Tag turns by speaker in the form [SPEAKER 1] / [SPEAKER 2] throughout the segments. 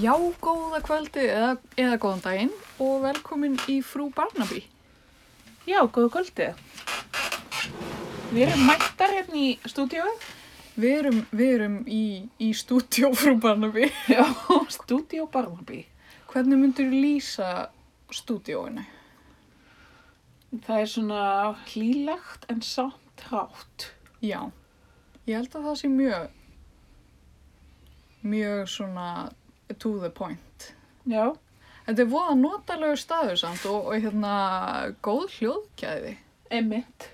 [SPEAKER 1] Já, góða kvöldi eða, eða góðan daginn og velkomin í Frú Barnaby.
[SPEAKER 2] Já, góðu kvöldið. Við erum mættar hérna í stúdíói.
[SPEAKER 1] Við erum, við erum í, í stúdjó Frú Barnaby.
[SPEAKER 2] Já, stúdíó Barnaby.
[SPEAKER 1] Hvernig myndur lýsa stúdjóinu?
[SPEAKER 2] Það er svona hlýlegt en samt rátt.
[SPEAKER 1] Já, ég held að það sé mjög, mjög svona to the point.
[SPEAKER 2] Já,
[SPEAKER 1] Þetta er voða notalegu staður samt og, og hérna góð hljóðgæði.
[SPEAKER 2] emitt.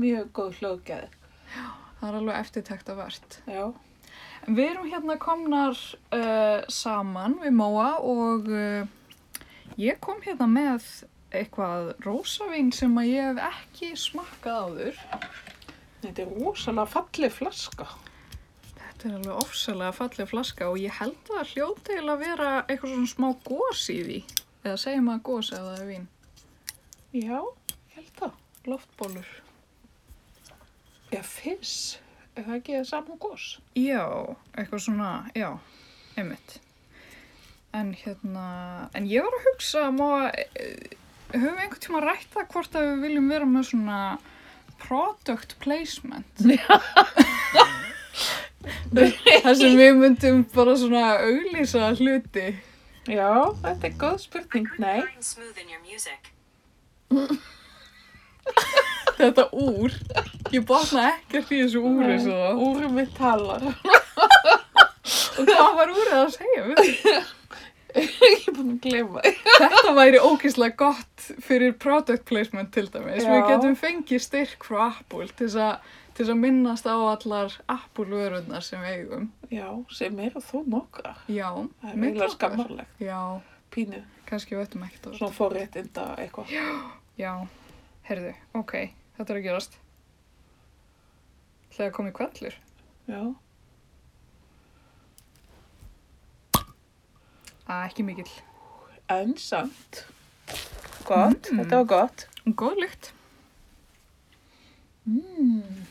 [SPEAKER 2] Mjög góð hljóðgæði.
[SPEAKER 1] Það er alveg eftirtektavert.
[SPEAKER 2] Já,
[SPEAKER 1] Við erum hérna komnar uh, saman við Móa og uh, ég kom hérna með eitthvað rósavín sem að ég hef ekki smakkað áður.
[SPEAKER 2] þetta er rosalega falleg flaska.
[SPEAKER 1] Þetta er alveg ofsalega falleg flaska og ég held að það hljóti til að vera eitthvað svona smá gós í því. Eða segjum að gós ef það er vín.
[SPEAKER 2] Já, ég held það.
[SPEAKER 1] Loftbólur.
[SPEAKER 2] Já, fizz. Er það ekki það saman gos?
[SPEAKER 1] Já, eitthvað svona, já, einmitt. En hérna, en ég var að hugsa, má, eh, höfum við einhvern tíma rætt það hvort að við viljum vera með svona product placement?
[SPEAKER 2] Já.
[SPEAKER 1] Það sem við myndum bara svona auglýsa hluti.
[SPEAKER 2] Já, þetta er góð spurning. Nei.
[SPEAKER 3] Find smooth in your music.
[SPEAKER 1] Þetta úr, ég botna ekkert í þessu úri svo.
[SPEAKER 2] Úrið mitt talar.
[SPEAKER 1] Og hvað var úrið að segja? Við
[SPEAKER 2] ég er búin að gleyma því.
[SPEAKER 1] Þetta væri ógeðslega gott fyrir product placement til dæmis. Við
[SPEAKER 2] Já.
[SPEAKER 1] getum fengið styrk frá Apple til þess að, til þess að minnast á allar Apple-vörurnar sem við eigum.
[SPEAKER 2] Já, sem eru þó nokkra.
[SPEAKER 1] Já,
[SPEAKER 2] Það er mjög
[SPEAKER 1] okkar.
[SPEAKER 2] skammarlegt.
[SPEAKER 1] Já,
[SPEAKER 2] Pínu.
[SPEAKER 1] kannski við ættum ekkert á þessu.
[SPEAKER 2] Svona forréttinda eitthvað.
[SPEAKER 1] Já, heyrðu, ok, þetta er að gerast. Þegar komið kvellur.
[SPEAKER 2] Já.
[SPEAKER 1] Æ, ekki mikill.
[SPEAKER 2] En samt. Gott.
[SPEAKER 1] Mm.
[SPEAKER 2] Þetta var gott.
[SPEAKER 1] Góð lykt.
[SPEAKER 2] Mm.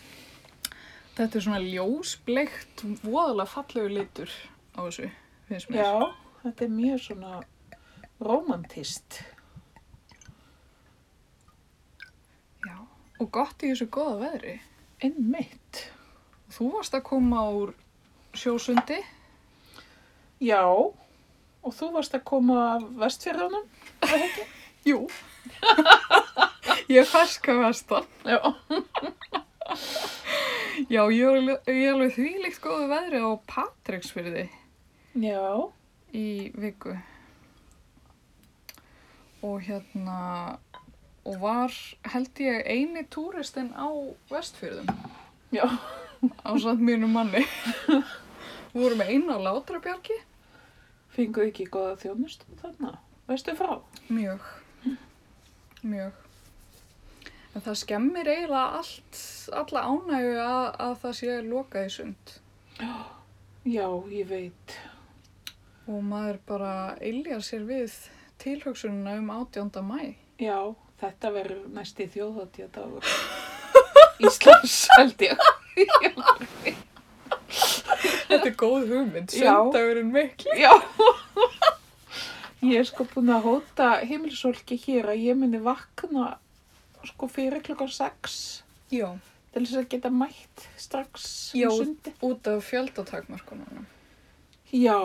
[SPEAKER 1] Þetta er svona ljósbleikt, voðalega fallegur litur á þessu, finnst mér.
[SPEAKER 2] Já. Þetta er mjög svona romantist.
[SPEAKER 1] Já. Og gott í þessu góða veðri.
[SPEAKER 2] Einmitt.
[SPEAKER 1] Þú varst að koma úr sjósundi.
[SPEAKER 2] Já. Og þú varst að koma af vestfjörðunum?
[SPEAKER 1] Jú. ég ferska vestan.
[SPEAKER 2] Já.
[SPEAKER 1] Já, ég er alveg- ég er alveg þvílíkt góðu veðri á Patreksfyrði
[SPEAKER 2] Já.
[SPEAKER 1] í viku. Og hérna, og var held ég eini túristinn á Vestfyrðum
[SPEAKER 2] Já.
[SPEAKER 1] á samt mínu manni. Vorum eina á Látrabjargi.
[SPEAKER 2] Fingu ekki góða þjónustu þarna. Veistu frá?
[SPEAKER 1] Mjög. Mjög. En það skemmir eiginlega allt, alla ánægu að, að það sé lokað í sund.
[SPEAKER 2] Já, ég veit.
[SPEAKER 1] Og maður bara eiljar sér við tilhugsununa um 18. mæ.
[SPEAKER 2] Já, þetta verður næsti þjóðatíða dagur. Íslands, held ég.
[SPEAKER 1] Þetta er góð hugmynd,
[SPEAKER 2] Já.
[SPEAKER 1] sundagurinn mikli.
[SPEAKER 2] Já. Ég er sko búin að hóta heimilisólki hér að ég muni vakna sko fyrir klokkan 6
[SPEAKER 1] Já,
[SPEAKER 2] til þess að geta mætt strax um
[SPEAKER 1] Já.
[SPEAKER 2] sundi.
[SPEAKER 1] út af fjöldatakmarkunum,
[SPEAKER 2] Já,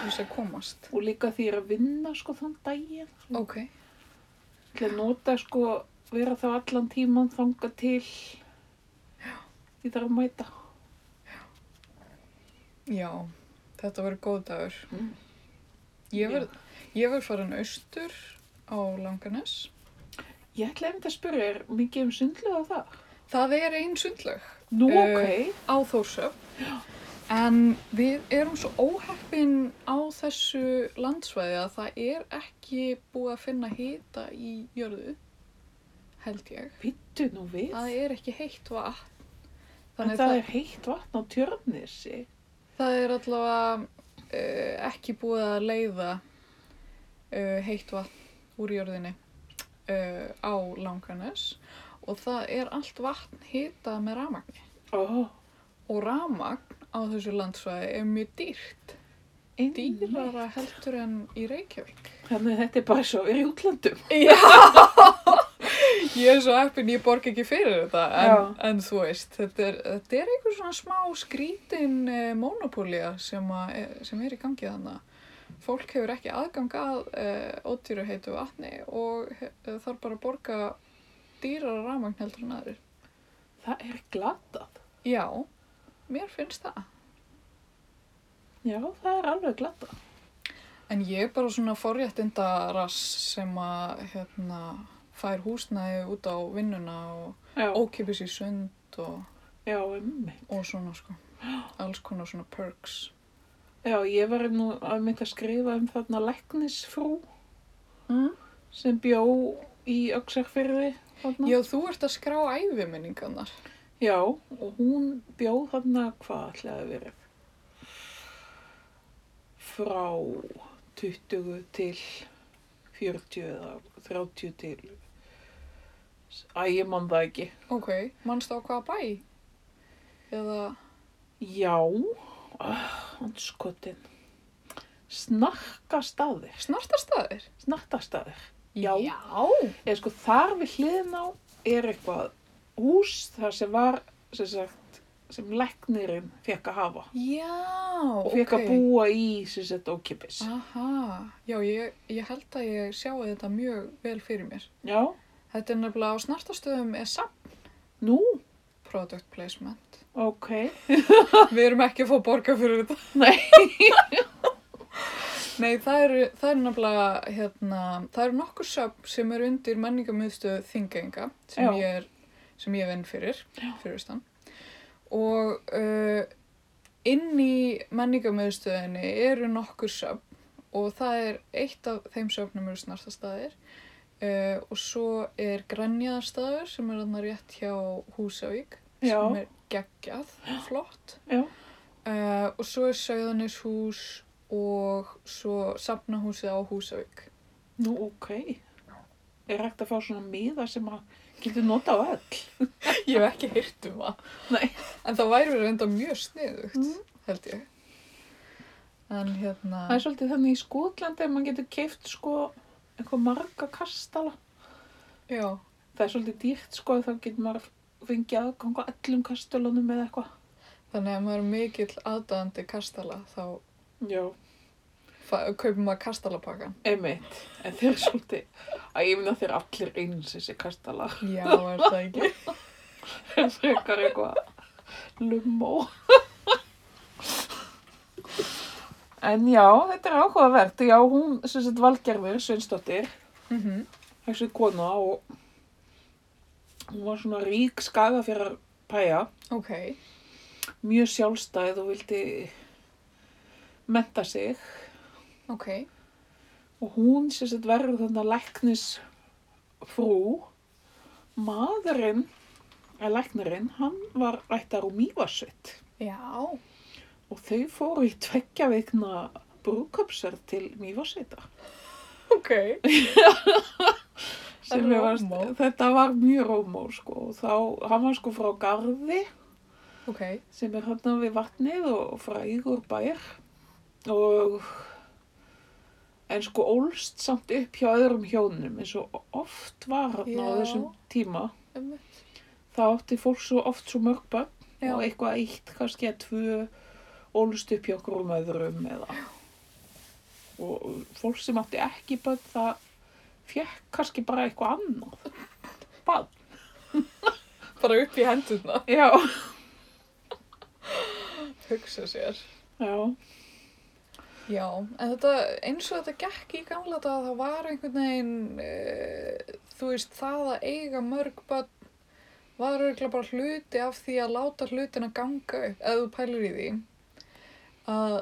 [SPEAKER 1] þess að komast.
[SPEAKER 2] og líka því ég er að vinna sko þann daginn.
[SPEAKER 1] Ok,
[SPEAKER 2] Til að nota sko vera þá allan tíman þanga til Já. því þarf að mæta.
[SPEAKER 1] já, þetta verður góð dagur.
[SPEAKER 2] Mm.
[SPEAKER 1] Ég verð, ég verð farin austur á Langanes.
[SPEAKER 2] Ég ætla einmitt að spyrja er mikið um sundlega það.
[SPEAKER 1] Það er ein sundlaug.
[SPEAKER 2] Nú,
[SPEAKER 1] Eh,
[SPEAKER 2] ok.
[SPEAKER 1] á Þórsöf. En við erum svo óheppin á þessu landsvæði að það er ekki búið að finna hita í jörðu, held ég.
[SPEAKER 2] Vittu nú við.
[SPEAKER 1] Það er ekki heitt vatn.
[SPEAKER 2] en
[SPEAKER 1] Þannig
[SPEAKER 2] það
[SPEAKER 1] það,
[SPEAKER 2] er heitt vatn á tjörnissi.
[SPEAKER 1] það er allavega uh, ekki búið að leiða uh, heitt vatn úr jörðinni uh, á Langanes og það er allt vatn hitað með ramagni.
[SPEAKER 2] Ó,
[SPEAKER 1] Og ramagn á þessu landsvæði er mjög dýrt. dýrara heldur en í Reykjavík.
[SPEAKER 2] Þannig að þetta er bara svo að vera í útlandum.
[SPEAKER 1] Já! ég er svo eppin, ég borg ekki fyrir þetta, en, en þú veist, þetta er, þetta er einhver svona smá skrítin eh, monopólja sem, að- eh, sem er í gangi þannig. Fólk hefur ekki aðgang að eh, ódýru heitu vatni og eh, þarf bara að borga dýrara rafmagn heldur en aðrir.
[SPEAKER 2] Það er glatað.
[SPEAKER 1] Já, mér finnst það.
[SPEAKER 2] Já, það er alveg glatað.
[SPEAKER 1] En ég er bara svona forréttinda rass sem að hérna, fær húsnæði út á vinnuna og
[SPEAKER 2] Já,
[SPEAKER 1] ókipis í sund og,
[SPEAKER 2] já, emmi.
[SPEAKER 1] og svona sko. Alls konar svona perks.
[SPEAKER 2] Já, ég var nú að mynda að skrifa um þarna læknisfrú
[SPEAKER 1] Mm.
[SPEAKER 2] sem bjó í Öxarfyrði þarna.
[SPEAKER 1] Já, þú ert að skrá æfiminningarnar.
[SPEAKER 2] Já, og hún bjó þarna hvað ætlaði að vera frá 20 til 40 eða 30 til Æ, ég man það ekki.
[SPEAKER 1] Ok, mannstu á hvaða bæ? Eða,
[SPEAKER 2] Já, Ah, hanskotin. Snarkastaðir,
[SPEAKER 1] snartastæðir?
[SPEAKER 2] snartastaðir. Já.
[SPEAKER 1] Já.
[SPEAKER 2] Eða sko þar við hliðin á er eitthvað hús þar sem var, sem sagt, sem læknirinn fekk að hafa.
[SPEAKER 1] Já,
[SPEAKER 2] Og fekk að búa í, sem sagt, ókipis.
[SPEAKER 1] Ah. Aha, já, ég, ég held að ég sjáu þetta mjög vel fyrir mér.
[SPEAKER 2] Já,
[SPEAKER 1] Þetta er nefnilega á snartastöðum er samt
[SPEAKER 2] nú,
[SPEAKER 1] product placement.
[SPEAKER 2] ok.
[SPEAKER 1] Við erum ekki að fá borga fyrir þetta.
[SPEAKER 2] Nei.
[SPEAKER 1] Nei, það eru, það eru nefnilega, hérna, það eru nokkur söfn sem eru undir menningamöðstöð Þingenga sem
[SPEAKER 2] Já.
[SPEAKER 1] ég er, sem ég vinn fyrir, fyrir utan. Og uh, inn í menningamöðstöðinni eru nokkur söfn og það er eitt af þeim söfnum eru snartastæðir uh, og svo er grænjaðarstæður sem er þarna rétt hjá Húsavík
[SPEAKER 2] Já.
[SPEAKER 1] sem er geggjað, flott.
[SPEAKER 2] Já,
[SPEAKER 1] Uh, og svo er Söðanishús og svo safnahúsið á Húsavík.
[SPEAKER 2] nú, ok. Er hægt að fá svona miða sem að getur nota á öll?
[SPEAKER 1] Ég hef ekki heyrt um það.
[SPEAKER 2] Nei.
[SPEAKER 1] En það væri reynda mjög sniðugt, held ég. En hérna,
[SPEAKER 2] Það er svolítið þannig í Skotlandi að maður getur keift sko eitthvað marga kastala.
[SPEAKER 1] já,
[SPEAKER 2] Það er svolítið dýrt sko þá getur maður fengið aðgang á öllum kastalunum eða eitthvað.
[SPEAKER 1] þannig að maður er mikill aðdæðandi kastala, þá
[SPEAKER 2] Já.
[SPEAKER 1] fa- kaupir maður kastalapakkan.
[SPEAKER 2] Einmitt. En þeir eru svolítið, að ég minna þeir eru allir eins þessi kastala.
[SPEAKER 1] Já, er það ekki?
[SPEAKER 2] Þeir eru frekar eitthvað lummó. En já, þetta er áhugavert. Já, hún, sem sagt, Valgerður Sveinsdóttir,
[SPEAKER 1] mm
[SPEAKER 2] þessi kona og hún var svona rík skaga fyrir pæja,
[SPEAKER 1] Ok,
[SPEAKER 2] mjög sjálfstæð og vildi menta sig
[SPEAKER 1] ok,
[SPEAKER 2] og hún sem sett verður þannig læknis frú maðurinn eða læknirinn, hann var ættar úr Mývarsveit
[SPEAKER 1] já,
[SPEAKER 2] og þau fóru í tveggja veikna brúköpsar til Mývarsveita
[SPEAKER 1] ok,
[SPEAKER 2] sem
[SPEAKER 1] Rómó.
[SPEAKER 2] var, þetta var mjög rómó sko og þá, hann var sko frá Garði
[SPEAKER 1] ok,
[SPEAKER 2] sem er hérna við vatnið og frægur bær og en sko ólst samt upp hjá öðrum hjónum eins og oft var hérna á
[SPEAKER 1] Já.
[SPEAKER 2] þessum tíma
[SPEAKER 1] Einmitt.
[SPEAKER 2] þá átti fólk svo oft svo mörg börn
[SPEAKER 1] Já.
[SPEAKER 2] og eitthvað eitt kannski að tvö ólst upp hjá okkur um öðrum eða og fólk sem átti ekki börn það fekk kannski bara eitthvað annað bann
[SPEAKER 1] bara upp í hendurna,
[SPEAKER 2] já,
[SPEAKER 1] hugsa sér.
[SPEAKER 2] já,
[SPEAKER 1] Já, en þetta, eins og þetta gekk í gamla daga, það var einhvern veginn, e, þú veist, það að eiga mörg börn var örgulega bara hluti af því að láta hlutina ganga upp, ef þú pælir í því. Að,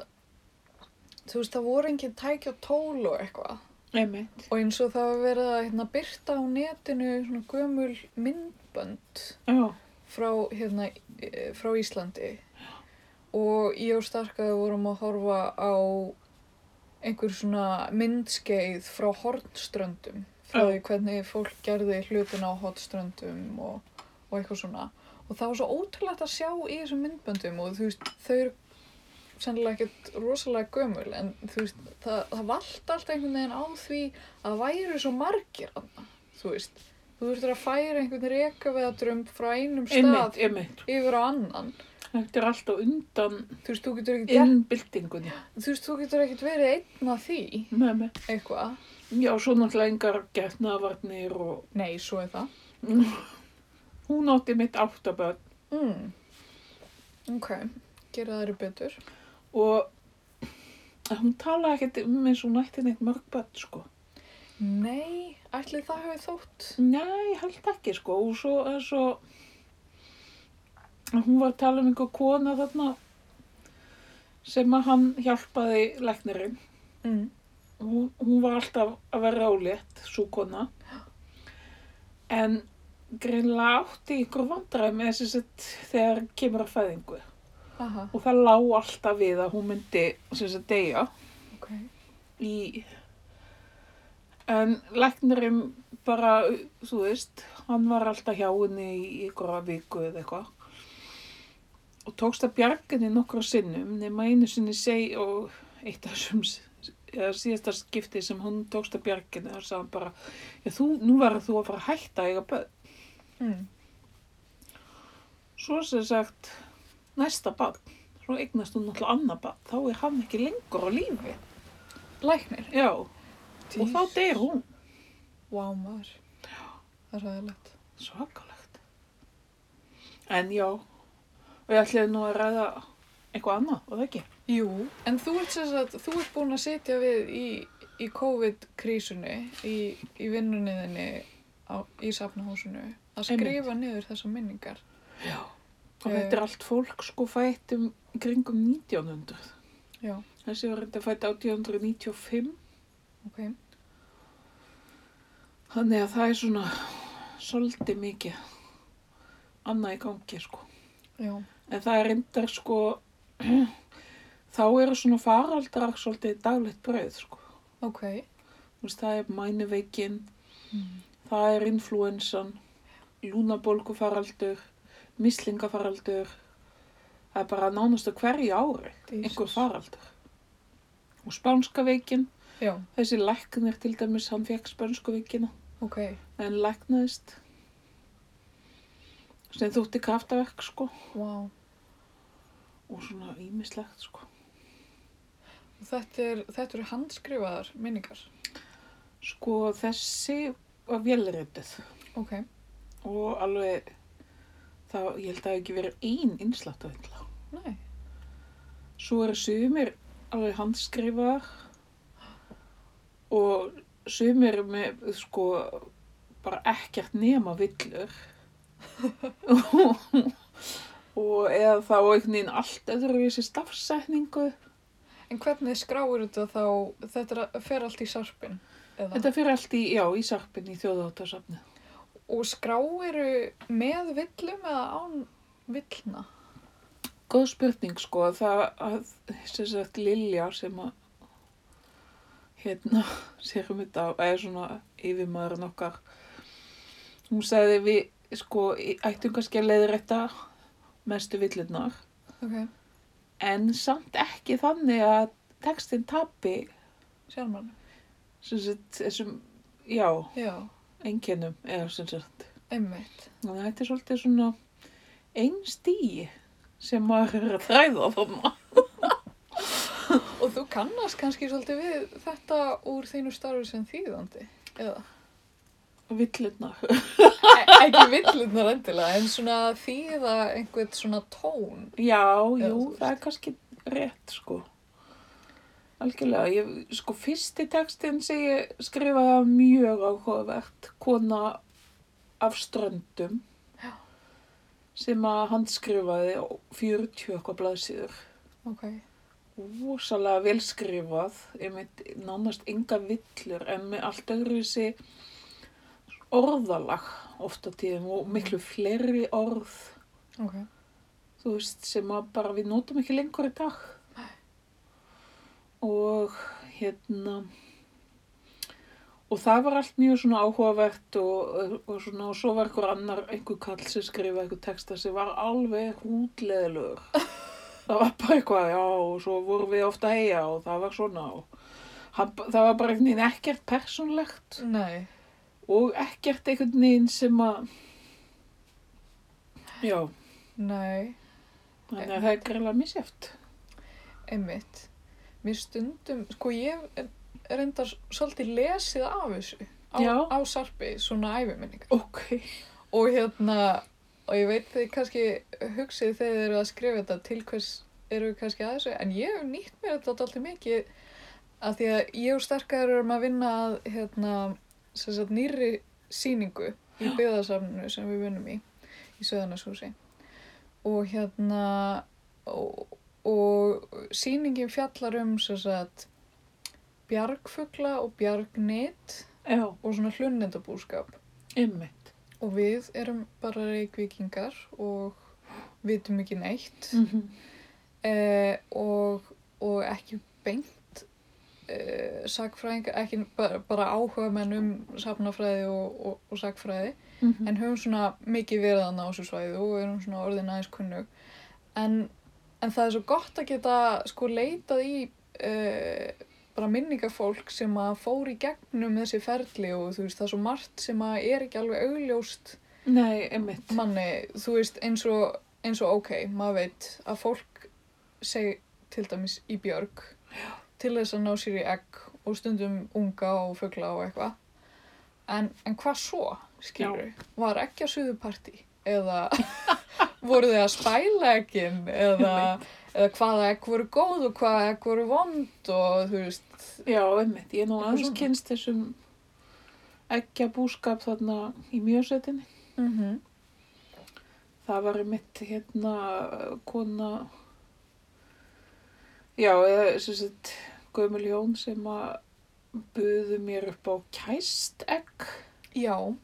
[SPEAKER 1] þú veist, það voru engin tæki og tól og eitthvað.
[SPEAKER 2] einmitt
[SPEAKER 1] Og eins og það var verið að hérna, byrta á netinu svona gömul myndbönd
[SPEAKER 2] já,
[SPEAKER 1] frá, hérna, eh, frá Íslandi og ég og Starkaði vorum að horfa á einhver svona myndskeið frá hornströndum frá
[SPEAKER 2] Já.
[SPEAKER 1] því hvernig fólk gerði hlutina á hornströndum og, og eitthvað svona og það var svo ótrúlegt að sjá í þessum myndböndum og þú veist, þau eru sennilega ekkert rosalega gömul en þú veist, það, það vald allt einhvern veginn á því að það væri svo margir annað, þú veist þú þurftur að færa einhvern rekaveðadrömb frá einum stað
[SPEAKER 2] Einmitt, einmitt.
[SPEAKER 1] yfir á annan
[SPEAKER 2] Þetta er alltaf undan
[SPEAKER 1] þú veist, þú getur ekkert
[SPEAKER 2] innbyltingunni.
[SPEAKER 1] þú veist, þú getur ekkert verið einn að því
[SPEAKER 2] Með mig.
[SPEAKER 1] eitthvað,
[SPEAKER 2] Já, svo náttúrulega engar getnaðvarnir og
[SPEAKER 1] nei, svo er það
[SPEAKER 2] hún átti mitt áttaböð
[SPEAKER 1] mm. ok, gera það eru betur
[SPEAKER 2] og hún talaði ekkert um eins og hún ætti neitt mörg börn, sko.
[SPEAKER 1] nei, ætli það hefur þótt
[SPEAKER 2] Nei, held ekki sko og svo er svo hún var að tala um einhver kona þarna sem að hann hjálpaði læknirinn
[SPEAKER 1] mm.
[SPEAKER 2] hún, hún var alltaf að vera álétt svo kona en greinlega átti ykkur vandræði með þessi sett þegar kemur að fæðingu
[SPEAKER 1] aha,
[SPEAKER 2] og það lá alltaf við að hún myndi sem sagt deyja
[SPEAKER 1] ok
[SPEAKER 2] í en læknirinn bara, þú veist hann var alltaf hjá henni í ykkur viku eða eitthvað og tókst að bjarga henni nokkra sinnum nema einu sinni seg og eitt af þessum s- eða síðasta skipti sem hún tókst að bjarga henni og sagði hann bara, já þú, nú verður þú að fara að hætta að eiga börn
[SPEAKER 1] mm.
[SPEAKER 2] svo sem sagt næsta barn, svo eignast hún alltaf annað barn, þá er hann ekki lengur á lífi
[SPEAKER 1] læknir
[SPEAKER 2] já, og þá deyr hún
[SPEAKER 1] Vá maður. Það er ræðilegt.
[SPEAKER 2] Svakalegt. En já, við ætlum nú að ræða eitthvað annað, og það ekki.
[SPEAKER 1] Jú. En þú ert, sem sagt, þú ert búin að sitja við í, í COVID-krísunni, í, í vinnunniðinni á, í safnahúsinu, að skrifa niður þessar minningar.
[SPEAKER 2] Já. Og þetta er allt fólk sko fætt um í kringum 1900.
[SPEAKER 1] Já,
[SPEAKER 2] Þessi var þetta fætt 1895,
[SPEAKER 1] ok.
[SPEAKER 2] þannig að það er svona svolítið mikið annað í gangi sko.
[SPEAKER 1] Já,
[SPEAKER 2] En það er reyndar sko, þá eru svona faraldrar svolítið daglegt brauð sko.
[SPEAKER 1] ok.
[SPEAKER 2] Þú veist, það er mænuveikin,
[SPEAKER 1] Mm.
[SPEAKER 2] Það er influensan, lúnabolgufaraldur, mislingafaraldur. Það er bara nánast á hverju ári, einhver faraldur. Og spánska veikin,
[SPEAKER 1] Já,
[SPEAKER 2] þessi læknir til dæmis, hann fekk spánsku veikina,
[SPEAKER 1] ok.
[SPEAKER 2] en læknaðist. Sem þótti kraftaverk, sko,
[SPEAKER 1] Vá.
[SPEAKER 2] og svona ímislegt, sko.
[SPEAKER 1] Þetta, er, þetta eru handskrifaðar minningar.
[SPEAKER 2] Sko, þessi var velreytið
[SPEAKER 1] Ok.
[SPEAKER 2] og alveg, það, ég held að það hafi ekki verið ein einslátt á einhverja.
[SPEAKER 1] Nei.
[SPEAKER 2] Svo eru sumir alveg handskrifaðar og sumir með sko bara ekkert nema villur og eða þá einhvern veginn allt öðruvísi stafsetningu.
[SPEAKER 1] En hvernig skráir þetta þá, þetta er að- fer allt í sarpin? Eða?
[SPEAKER 2] Þetta fyrir allt í, já, í sarpin í þjóðáttasafni.
[SPEAKER 1] Og skráiru með villum eða án villna?
[SPEAKER 2] Góð spurning sko, það að, sem sagt, Lilja sem að, hérna, sér um þetta, eða svona yfirmaðurinn okkar, hún sagði við, sko, í- ættum kannski að leiðrætta mestu villurnar,
[SPEAKER 1] Ok,
[SPEAKER 2] en samt ekki þannig að textin tapi,
[SPEAKER 1] sér mann.
[SPEAKER 2] sem sagt, þessum, já,
[SPEAKER 1] Já,
[SPEAKER 2] einkennum, eða sem sagt,
[SPEAKER 1] einmitt.
[SPEAKER 2] þannig að þetta er svolítið svona einn stí sem maður er að þræða þarna.
[SPEAKER 1] Og þú kannast kannski svolítið við þetta úr þínu starfi sem þýðandi, eða?
[SPEAKER 2] Villurnar.
[SPEAKER 1] E ekki villunar endilega, en svona þýða einhvern svona tón.
[SPEAKER 2] Já,
[SPEAKER 1] Eða
[SPEAKER 2] jú,
[SPEAKER 1] þú veist.
[SPEAKER 2] það er kannski rétt, sko. Algjörlega, ég, sko, fyrsti textin sem ég skrifaði var mjög áhugavert, kona af ströndum,
[SPEAKER 1] Já.
[SPEAKER 2] sem að hann skrifaði á 40 eitthvað blaðsíður.
[SPEAKER 1] Ok,
[SPEAKER 2] Ósalega vel skrifað, ég meint nánast enga villur, en með allt öðru þessi orðalag oft á tíðum og miklu fleiri orð
[SPEAKER 1] ok.
[SPEAKER 2] þú veist, sem að bara við notum ekki lengur í dag. Og hérna, og það var allt mjög svona áhugavert og, og svona, og svo var einhver annar, einhver kall sem skrifaði einhver texta sem var alveg hútleðilegur. það var bara eitthvað, já, og svo vorum við ofta að eiga og það var svona og hann, það var bara einhvern veginn ekkert persónlegt
[SPEAKER 1] Nei.
[SPEAKER 2] og ekkert einhvern veginn sem að, já,
[SPEAKER 1] Nei,
[SPEAKER 2] þannig að það er greiðlega misjæft.
[SPEAKER 1] einmitt. Mér stundum, sko ég er- reyndar svolítið lesið af þessu á,
[SPEAKER 2] Já.
[SPEAKER 1] á sarpi, svona æfiminningar.
[SPEAKER 2] Ok,
[SPEAKER 1] Og hérna, og ég veit þið kannski hugsið þegar þið eru að skrifa þetta til hvers eru þið kannski að þessu, en ég hef nýtt mér þetta alltaf mikið að því að ég og sterkar erum að vinna að hérna, sem sagt, nýri síningu í byggðarsamnu sem við vinnum í, í Söðanarshúsi. Og hérna, og, og síningin fjallar um, sem sagt, bjargfugla og bjargnit
[SPEAKER 2] já,
[SPEAKER 1] og svona hlunnendabúskap
[SPEAKER 2] ymmit.
[SPEAKER 1] og við erum bara reykvíkingar og vitum ekki neitt
[SPEAKER 2] Mm -hmm.
[SPEAKER 1] eh, og, og ekki beint eh, sakfræðing, ekki bara, bara áhuga menn um safnafræði og, og, og sakfræði
[SPEAKER 2] Mm.
[SPEAKER 1] en höfum svona mikið verið að ná þessu svæðu og erum svona orðin aðeins kunnug en, en það er svo gott að geta sko leitað í uh, bara minningafólk sem að fór í gegnum þessi ferli og þú veist það er svo margt sem að er ekki alveg augljóst
[SPEAKER 2] Nei, ymmit.
[SPEAKER 1] manni, þú veist eins og, eins og ok, maður veit að fólk segi til dæmis í björg til þess að ná sér í egg og stundum unga og fugla og eitthvað en, en hvað svo, skilur var ekki að suðu partí eða voru þið að spæla ekkin eða, eða hvaða egg voru góð og hvaða egg voru vond og þú veist,
[SPEAKER 2] Já, ymmit. Ég er nú
[SPEAKER 1] Eitthvað
[SPEAKER 2] aðeins
[SPEAKER 1] svona.
[SPEAKER 2] kynst þessum ekki búskap þarna í mjösetinni.
[SPEAKER 1] mm
[SPEAKER 2] Það var mitt hérna kona, já, eða sem sagt, gömul hjón sem að buðu mér upp á kæst egg.
[SPEAKER 1] já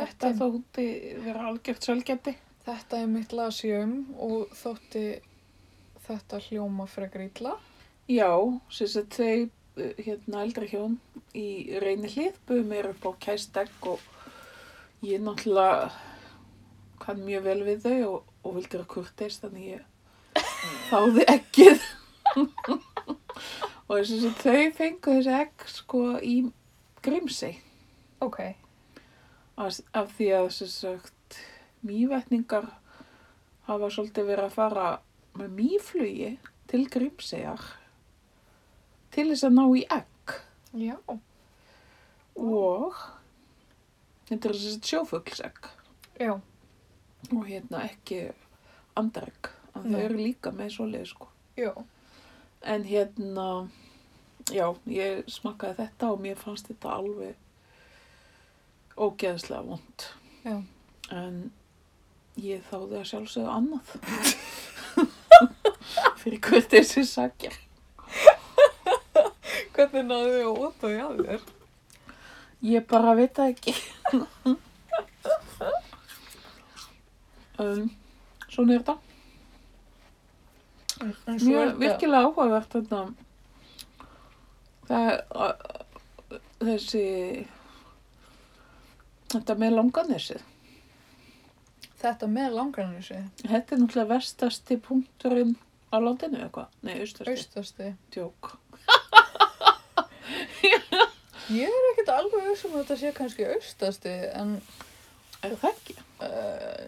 [SPEAKER 2] Þetta
[SPEAKER 1] þetta,
[SPEAKER 2] þótti vera algjört sælgæti.
[SPEAKER 1] þetta er mitt lasjum um og þótti þetta hljóma frekar illa
[SPEAKER 2] Já, sem sagt, þau eh, hérna eldri hjón í reyni hlið buðu mér upp á kæst egg og ég náttúrulega kann mjög vel við þau og, og vildi vera kurteist þannig ég þáði eggið og þess að þau fengu þessi egg sko í grimsi
[SPEAKER 1] ok,
[SPEAKER 2] af, af því að sem sagt mývetningar hafa svolítið verið að fara með mýflugi til grimsiðar til þess að ná í egg
[SPEAKER 1] já
[SPEAKER 2] og þetta er sem sagt sjófuglsegg
[SPEAKER 1] já,
[SPEAKER 2] og hérna ekki andaregg en þau
[SPEAKER 1] Nei.
[SPEAKER 2] eru líka með svoleið sko
[SPEAKER 1] já,
[SPEAKER 2] En hérna, já, ég smakkaði þetta og mér fannst þetta alveg ógeðslega vond.
[SPEAKER 1] Já.
[SPEAKER 2] En ég þáði að sjálfsögðu annað. Fyrir hvert þessi sakja.
[SPEAKER 1] hvernig náðu þið að óta því að þér
[SPEAKER 2] Ég bara veit það ekki. um, svona er þetta.
[SPEAKER 1] en svo er þetta
[SPEAKER 2] Mjög virkilega áhugavert þetta. Það er að- þessi, þetta með langanessið.
[SPEAKER 1] þetta með langarnissi,
[SPEAKER 2] Þetta er náttúrulega vestasti punkturinn á landinu eitthvað. Nei, austasti. Aust.
[SPEAKER 1] austasti
[SPEAKER 2] Djók.
[SPEAKER 1] ég er ekkert alveg viss um að þetta sé kannski austasti en
[SPEAKER 2] Er það ekki?
[SPEAKER 1] uh,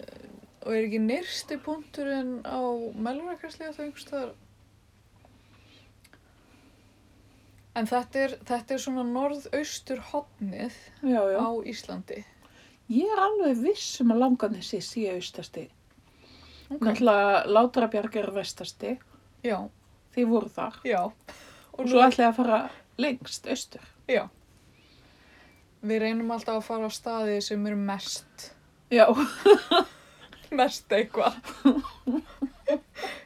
[SPEAKER 1] og er ekki nyrsti punkturinn á melrakarslíða það einhvers þar en þetta er, þetta er svona norðaustur hotnið
[SPEAKER 2] Já, já.
[SPEAKER 1] á Íslandi
[SPEAKER 2] Ég er alveg viss um að langanessið sé austasti.
[SPEAKER 1] okay.
[SPEAKER 2] Náttúrulega Látrabjarg er vestasti.
[SPEAKER 1] já,
[SPEAKER 2] Þið voru þar.
[SPEAKER 1] já
[SPEAKER 2] Og
[SPEAKER 1] og
[SPEAKER 2] svo
[SPEAKER 1] nú,
[SPEAKER 2] ætlaði að fara lengst austur.
[SPEAKER 1] já við reynum alltaf að fara á staði sem eru mest
[SPEAKER 2] Já.
[SPEAKER 1] mest eitthvað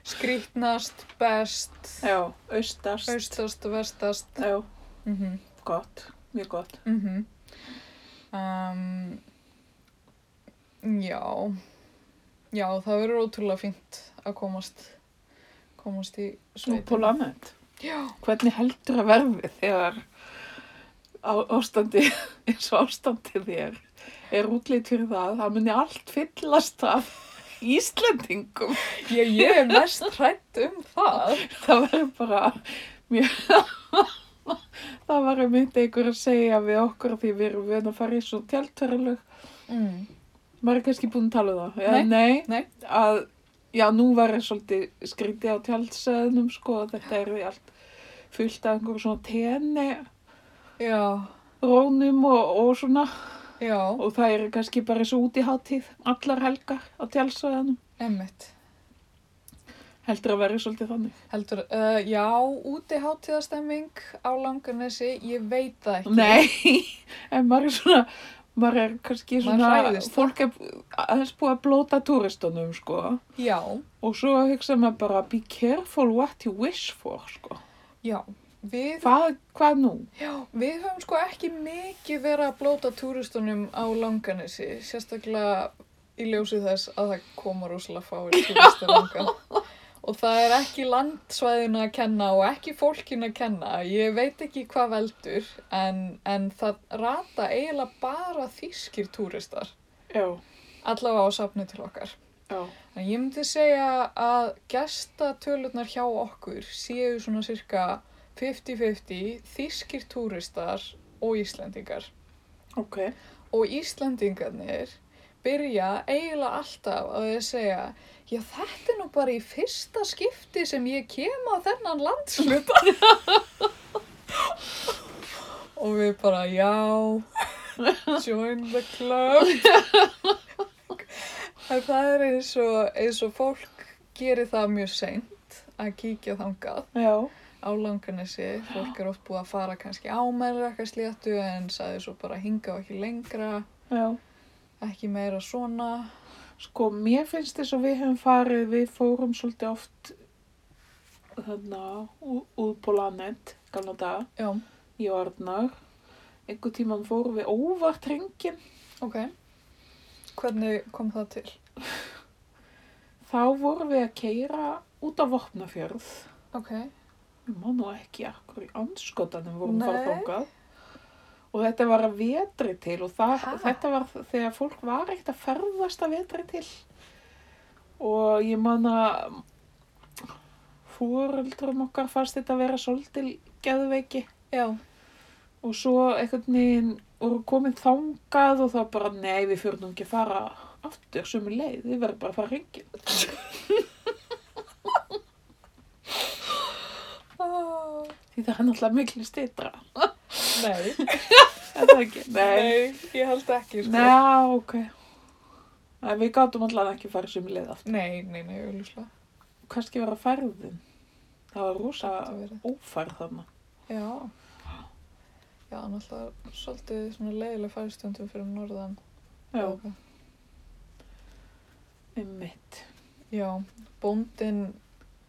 [SPEAKER 1] skrítnast, best
[SPEAKER 2] Já, austast.
[SPEAKER 1] austast, vestast
[SPEAKER 2] Já,
[SPEAKER 1] mhm
[SPEAKER 2] gott. Mjög gott.
[SPEAKER 1] Mhm. um, já. Já, það verður ótrúlega fínt að komast, komast í
[SPEAKER 2] Nú
[SPEAKER 1] sveitin.
[SPEAKER 2] pól annað.
[SPEAKER 1] Já,
[SPEAKER 2] Hvernig heldur að verði þegar á, ástandi, eins og ástandið er, er útlýtt fyrir það, það muni allt fyllast af Íslendingum.
[SPEAKER 1] Ég, ég er mest hrætt um það.
[SPEAKER 2] Það var bara mjög... það var einmitt einhver að segja við okkur því við erum við að fara í svona tjaldverðalög.
[SPEAKER 1] Mm.
[SPEAKER 2] Maður er kannski búin að tala um það. Já,
[SPEAKER 1] Nei,
[SPEAKER 2] nei.
[SPEAKER 1] nei.
[SPEAKER 2] Að, já, nú var ég svolítið skrítið á tjaldsæðinum, sko. að Þetta er allt fullt af einhver svona tenni
[SPEAKER 1] Já,
[SPEAKER 2] rónum og, og svona.
[SPEAKER 1] já,
[SPEAKER 2] Og það eru kannski bara svo út í hátíð, allar helgar á tjaldsæðinum.
[SPEAKER 1] emmitt.
[SPEAKER 2] Heldur að vera svolítið þannig.
[SPEAKER 1] Heldur, uh, já, úti hátíðastemming á langanesi, ég veit það ekki.
[SPEAKER 2] Nei, en maður er svona, maður er kannski
[SPEAKER 1] Maður
[SPEAKER 2] svona,
[SPEAKER 1] hræðist.
[SPEAKER 2] fólk er aðeins búið að blóta túristunum, sko.
[SPEAKER 1] Já,
[SPEAKER 2] Og svo hugsa maður bara, be careful what you wish for, sko.
[SPEAKER 1] já, við,
[SPEAKER 2] Hvað, hvað nú?
[SPEAKER 1] já, við höfum sko ekki mikið verið að blóta túristunum á langanesi, sérstaklega í ljósi þess að það koma rosalega fáir túristar langa. Og það er ekki landsvæðinu að kenna og ekki fólkinu að kenna. Ég veit ekki hvað veldur, en, en það rata eiginlega bara þýskir túristar.
[SPEAKER 2] Já,
[SPEAKER 1] allavega á safni til okkar.
[SPEAKER 2] já,
[SPEAKER 1] En ég myndi segja að gestatölurnar hjá okkur séu svona cirka 50-50 þýskir túristar og Íslendingar.
[SPEAKER 2] ok.
[SPEAKER 1] Og Íslendingarnir byrja eiginlega alltaf að þeir segja já þetta er nú bara í fyrsta skipti sem ég kem á þennan landsluta. og við bara já, join the club. En það er eins og, eins og fólk gerir það mjög seint að kíkja þangað
[SPEAKER 2] Já,
[SPEAKER 1] á langanessi. Fólk er oft búið að fara kannski á meira eitthvað sléttu en sagði svo bara hinga og ekki lengra,
[SPEAKER 2] já.
[SPEAKER 1] ekki meira svona.
[SPEAKER 2] Sko, mér finnst þess að við hefum farið, við fórum svolítið oft, þannig, út på landet, gamla dag,
[SPEAKER 1] Já,
[SPEAKER 2] í orðnar. Einhver tíman fórum við óvart hringin
[SPEAKER 1] ok. Hvernig kom það til?
[SPEAKER 2] Þá vorum við að keira út á Vopnafjörð.
[SPEAKER 1] Ok,
[SPEAKER 2] Ég man nú ekki akkur í anskotanum vorum Nei. fara
[SPEAKER 1] Nei.
[SPEAKER 2] þangað. Og þetta var að vetri til og það,
[SPEAKER 1] Ha?
[SPEAKER 2] þetta var þegar fólk var ekkert að ferðast að vetri til. Og ég man að fóreldrum okkar fannst þetta að vera svolítil geðveiki.
[SPEAKER 1] já,
[SPEAKER 2] Og svo einhvern veginn voru komin þangað og þá bara, nei, við fyrir nú ekki að fara aftur sömu leið, við verðum bara að fara hringin.
[SPEAKER 1] oh,
[SPEAKER 2] Því það er náttúrulega miklu stýtra.
[SPEAKER 1] nei,
[SPEAKER 2] Er það ekki? Nei.
[SPEAKER 1] nei, ég held ekki sko.
[SPEAKER 2] Ná, ok. Nei, við gátum allan ekki farið sem leið aftur.
[SPEAKER 1] Nei, nei, nei, auðvitað,
[SPEAKER 2] Kannski vera ferðin. Það var rosa
[SPEAKER 1] þetta verið.
[SPEAKER 2] ófærð þarna.
[SPEAKER 1] Já, já, náttúrulega svolítið svona leiðileg færistundum fyrir norðan.
[SPEAKER 2] Já,
[SPEAKER 1] Ok.
[SPEAKER 2] einmitt.
[SPEAKER 1] Já, bóndin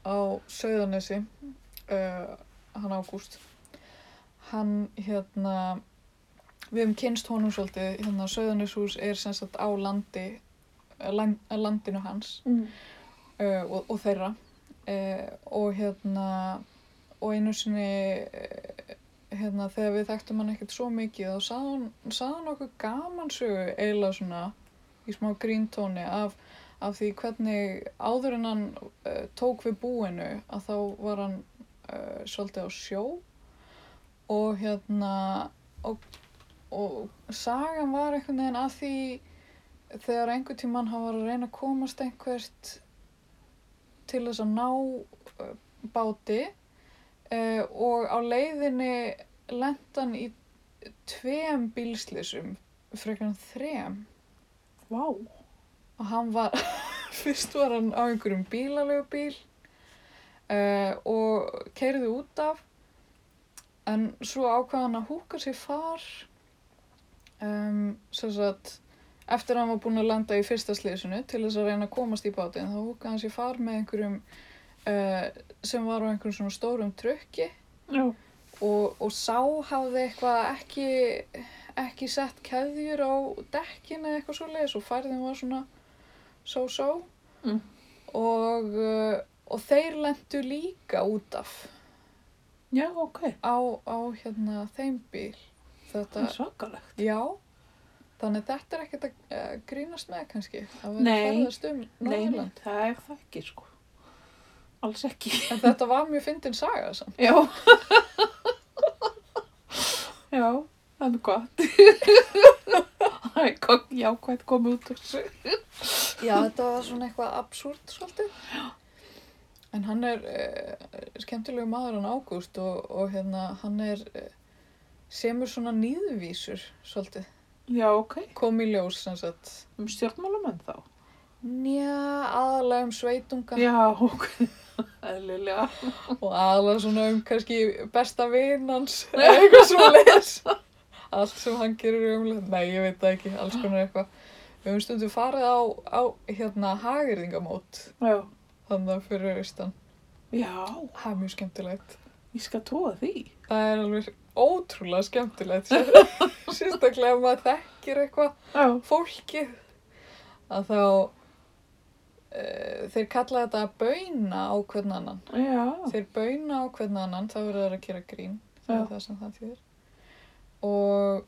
[SPEAKER 1] á Söðanesi, uh, hann Ágúst, hann hérna, við hefum kynst honum svolítið, hérna Söðaneshús er sem sagt á landi, eh, land, eh, landinu hans
[SPEAKER 2] Mm.
[SPEAKER 1] uh, og, og þeirra uh, og hérna, og einu sinni, uh, hérna þegar við þekktum hann ekkert svo mikið þá sagði hann, sagði hann okkur gaman sögu eiginlega svona í smá gríntóni af, af því hvernig áður en hann uh, tók við búinu að þá var hann uh, svolítið á sjó og hérna og, og sagan var einhvern veginn að því þegar einhvern tímann hann var að reyna að komast einhvert til þess að ná uh, báti uh, og á leiðinni lendan í tveim bílslýsum frekar en þrem
[SPEAKER 2] Vá.
[SPEAKER 1] og hann var, fyrst var hann á einhverjum bílalegu bíl og keiriði út af en svo ákvað hann að húka sér far um, sem sagt eftir að hann var búinn að landa í fyrsta slísinu til þess að reyna að komast í bátinn þá húkaði hann sér far með einhverjum uh, sem var á einhverjum svona stórum trukki
[SPEAKER 2] Já.
[SPEAKER 1] og, og sá hafði eitthvað ekki, ekki sett keðjur á dekkin eða eitthvað svoleiðis og færðin var svona so-so
[SPEAKER 2] Mm.
[SPEAKER 1] og, uh, og þeir lendu líka út af
[SPEAKER 2] Já, ok.
[SPEAKER 1] á, á hérna þeim bíl
[SPEAKER 2] Það
[SPEAKER 1] þetta,
[SPEAKER 2] er svakalegt.
[SPEAKER 1] já Þannig þetta er ekkert að uh, grínast með kannski, að vera
[SPEAKER 2] Nei.
[SPEAKER 1] að ferðast um
[SPEAKER 2] Nei, nei,
[SPEAKER 1] Norðurland.
[SPEAKER 2] það er það ekki, sko. Alls ekki.
[SPEAKER 1] En þetta var mjög fyndin saga samt.
[SPEAKER 2] Já. Já, það er gott. það er gott, já, hvað komið út úr þessu.
[SPEAKER 1] Já, þetta var svona eitthvað absúrt svolítið. En hann er uh, skemmtilegu maður hann Ágúst og, og hérna hann er uh, semur svona nýðvísur svolítið.
[SPEAKER 2] Já, ok.
[SPEAKER 1] Kom í ljós sem sagt.
[SPEAKER 2] Um stjórnmálamenn þá.
[SPEAKER 1] Njá, aðalega um sveitunga
[SPEAKER 2] Já, ok. Eðlilega.
[SPEAKER 1] og aðalega svona um kannski besta vinnans eða eitthvað svo leis. Allt sem hann gerir umlega, nei ég veit það ekki, alls konar eitthvað. Við höfum stundu farið á, á hérna hagirðingamót
[SPEAKER 2] Já.
[SPEAKER 1] þannig að fyrir austan.
[SPEAKER 2] Já,
[SPEAKER 1] Það er mjög skemmtilegt.
[SPEAKER 2] ég skal trúa því.
[SPEAKER 1] Það er alveg ótrúlega skemmtilegt, sérstaklega ef maður þekkir eitthvað
[SPEAKER 2] Já.
[SPEAKER 1] fólkið að þá uh, þeir kalla þetta að bauna á hvern annan.
[SPEAKER 2] Já.
[SPEAKER 1] Þeir bauna á hvern annan, þá verður það að gera grín, það
[SPEAKER 2] Já.
[SPEAKER 1] er það sem það þýðir. Og,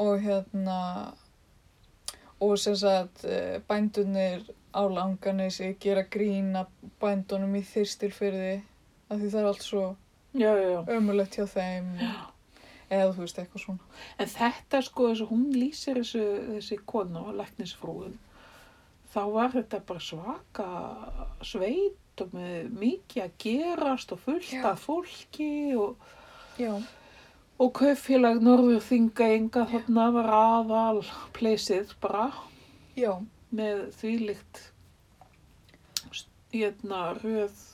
[SPEAKER 1] og hérna, og sem sagt uh, bændunir á langanessi gera grín að bændunum í þyrstilfyrði af því það er allt svo
[SPEAKER 2] Já, já, já.
[SPEAKER 1] ömulegt hjá þeim eða þú veist eitthvað svona
[SPEAKER 2] En þetta sko, þess að hún lýsir þessu, þessi konu, læknisfrúin, þá var þetta bara svaka sveit og með mikið að gerast og fullt
[SPEAKER 1] Já.
[SPEAKER 2] af fólki og,
[SPEAKER 1] já,
[SPEAKER 2] og kaupfélag Norður Þingaenga þarna var aðal pleysið bara
[SPEAKER 1] já,
[SPEAKER 2] með þvílíkt hérna röð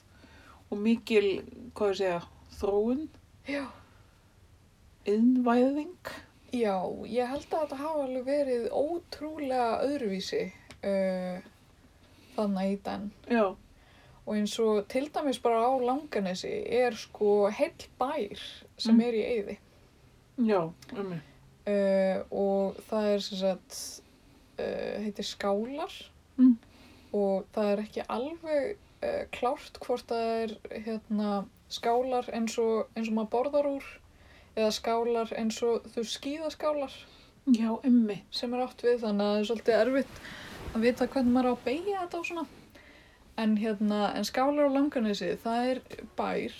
[SPEAKER 2] og mikil, hvað ég segja, þróun,
[SPEAKER 1] já
[SPEAKER 2] innvæðing.
[SPEAKER 1] já, ég held að þetta hafa alveg verið ótrúlega öðruvísi uh, þannig í den
[SPEAKER 2] Já,
[SPEAKER 1] og eins og til dæmis bara á langanesi er sko heill bær sem
[SPEAKER 2] Mm.
[SPEAKER 1] er í eyði
[SPEAKER 2] já, um mig.
[SPEAKER 1] uh, og það er sem sagt uh, heitir skálar
[SPEAKER 2] Mm.
[SPEAKER 1] og það er ekki alveg uh, klárt hvort það er hérna skálar eins og, eins og maður borðar úr eða skálar eins og þú skýðaskálar
[SPEAKER 2] Já, um mig.
[SPEAKER 1] sem er átt við þannig að það er svolítið erfitt að vita hvernig maður á að beigja þetta og svona en hérna, en skálar á langanesi það er bær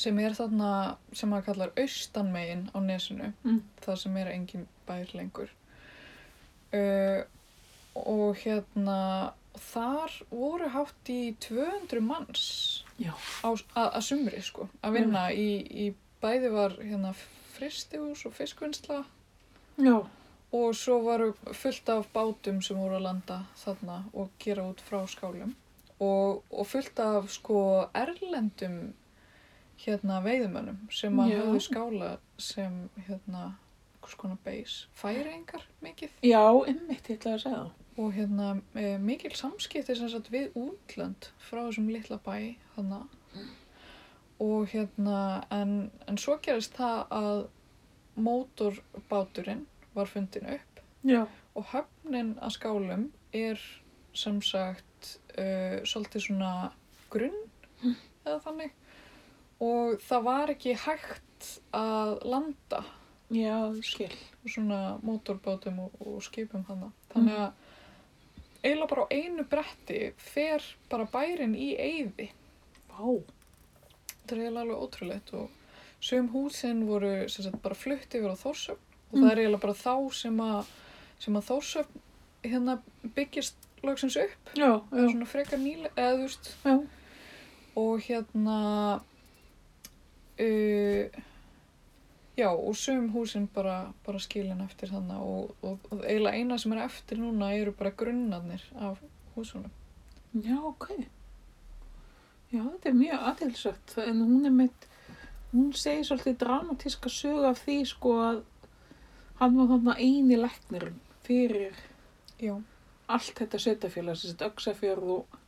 [SPEAKER 1] sem er þarna sem maður kallar austanmegin á nesinu
[SPEAKER 2] Mm.
[SPEAKER 1] það sem er engin bær lengur uh, og hérna þar voru hátt í 200 manns
[SPEAKER 2] Já. Mm.
[SPEAKER 1] á, að, að sumri sko að vinna í, í bæði var hérna fristihús og fiskvinnsla
[SPEAKER 2] Já.
[SPEAKER 1] Og svo varu fullt af bátum sem voru að landa þarna og gera út frá skálum. Og, og fullt af sko erlendum hérna veiðumönnum sem að
[SPEAKER 2] Já.
[SPEAKER 1] höfðu skála sem hérna hvers konar beis færingar mikið
[SPEAKER 2] Já, einmitt, ég ætlaði að segja það.
[SPEAKER 1] og hérna e, mikil samskipti sem sagt við útlönd frá þessum litla bæ þarna og hérna en, en svo gerist það að mótorbáturinn var fundin upp
[SPEAKER 2] Já.
[SPEAKER 1] Og höfnin að skálum er sem sagt uh, svolítið svona grunn eða þannig og það var ekki hægt að landa
[SPEAKER 2] Já, ég skil.
[SPEAKER 1] svona mótorbátum og, og skipum þannig. Þannig að eiginlega bara á einu bretti fer bara bærin í eyði.
[SPEAKER 2] Vá.
[SPEAKER 1] Þetta er eiginlega alveg ótrúlegt og sum húsin voru sem sagt bara flutt yfir á Þórsöfn og
[SPEAKER 2] Mm.
[SPEAKER 1] það er eiginlega bara þá sem að, sem að Þórsöfn hérna byggist loksins upp.
[SPEAKER 2] Já,
[SPEAKER 1] Það
[SPEAKER 2] já,
[SPEAKER 1] er svona frekar nýle, eða þú veist,
[SPEAKER 2] já.
[SPEAKER 1] og hérna, uh, já, og sum húsin bara, bara skilin eftir þannig og, og, og eiginlega eina sem er eftir núna eru bara grunnarnir af húsunum.
[SPEAKER 2] Já, ok. Já, þetta er mjög aðeinsvægt. En hún er mitt, hún segir svolítið dramatíska sögu af því, sko, að hann var þarna eini læknirinn fyrir
[SPEAKER 1] Já, allt.
[SPEAKER 2] allt þetta sveitafélag, þessi öksafjörð og,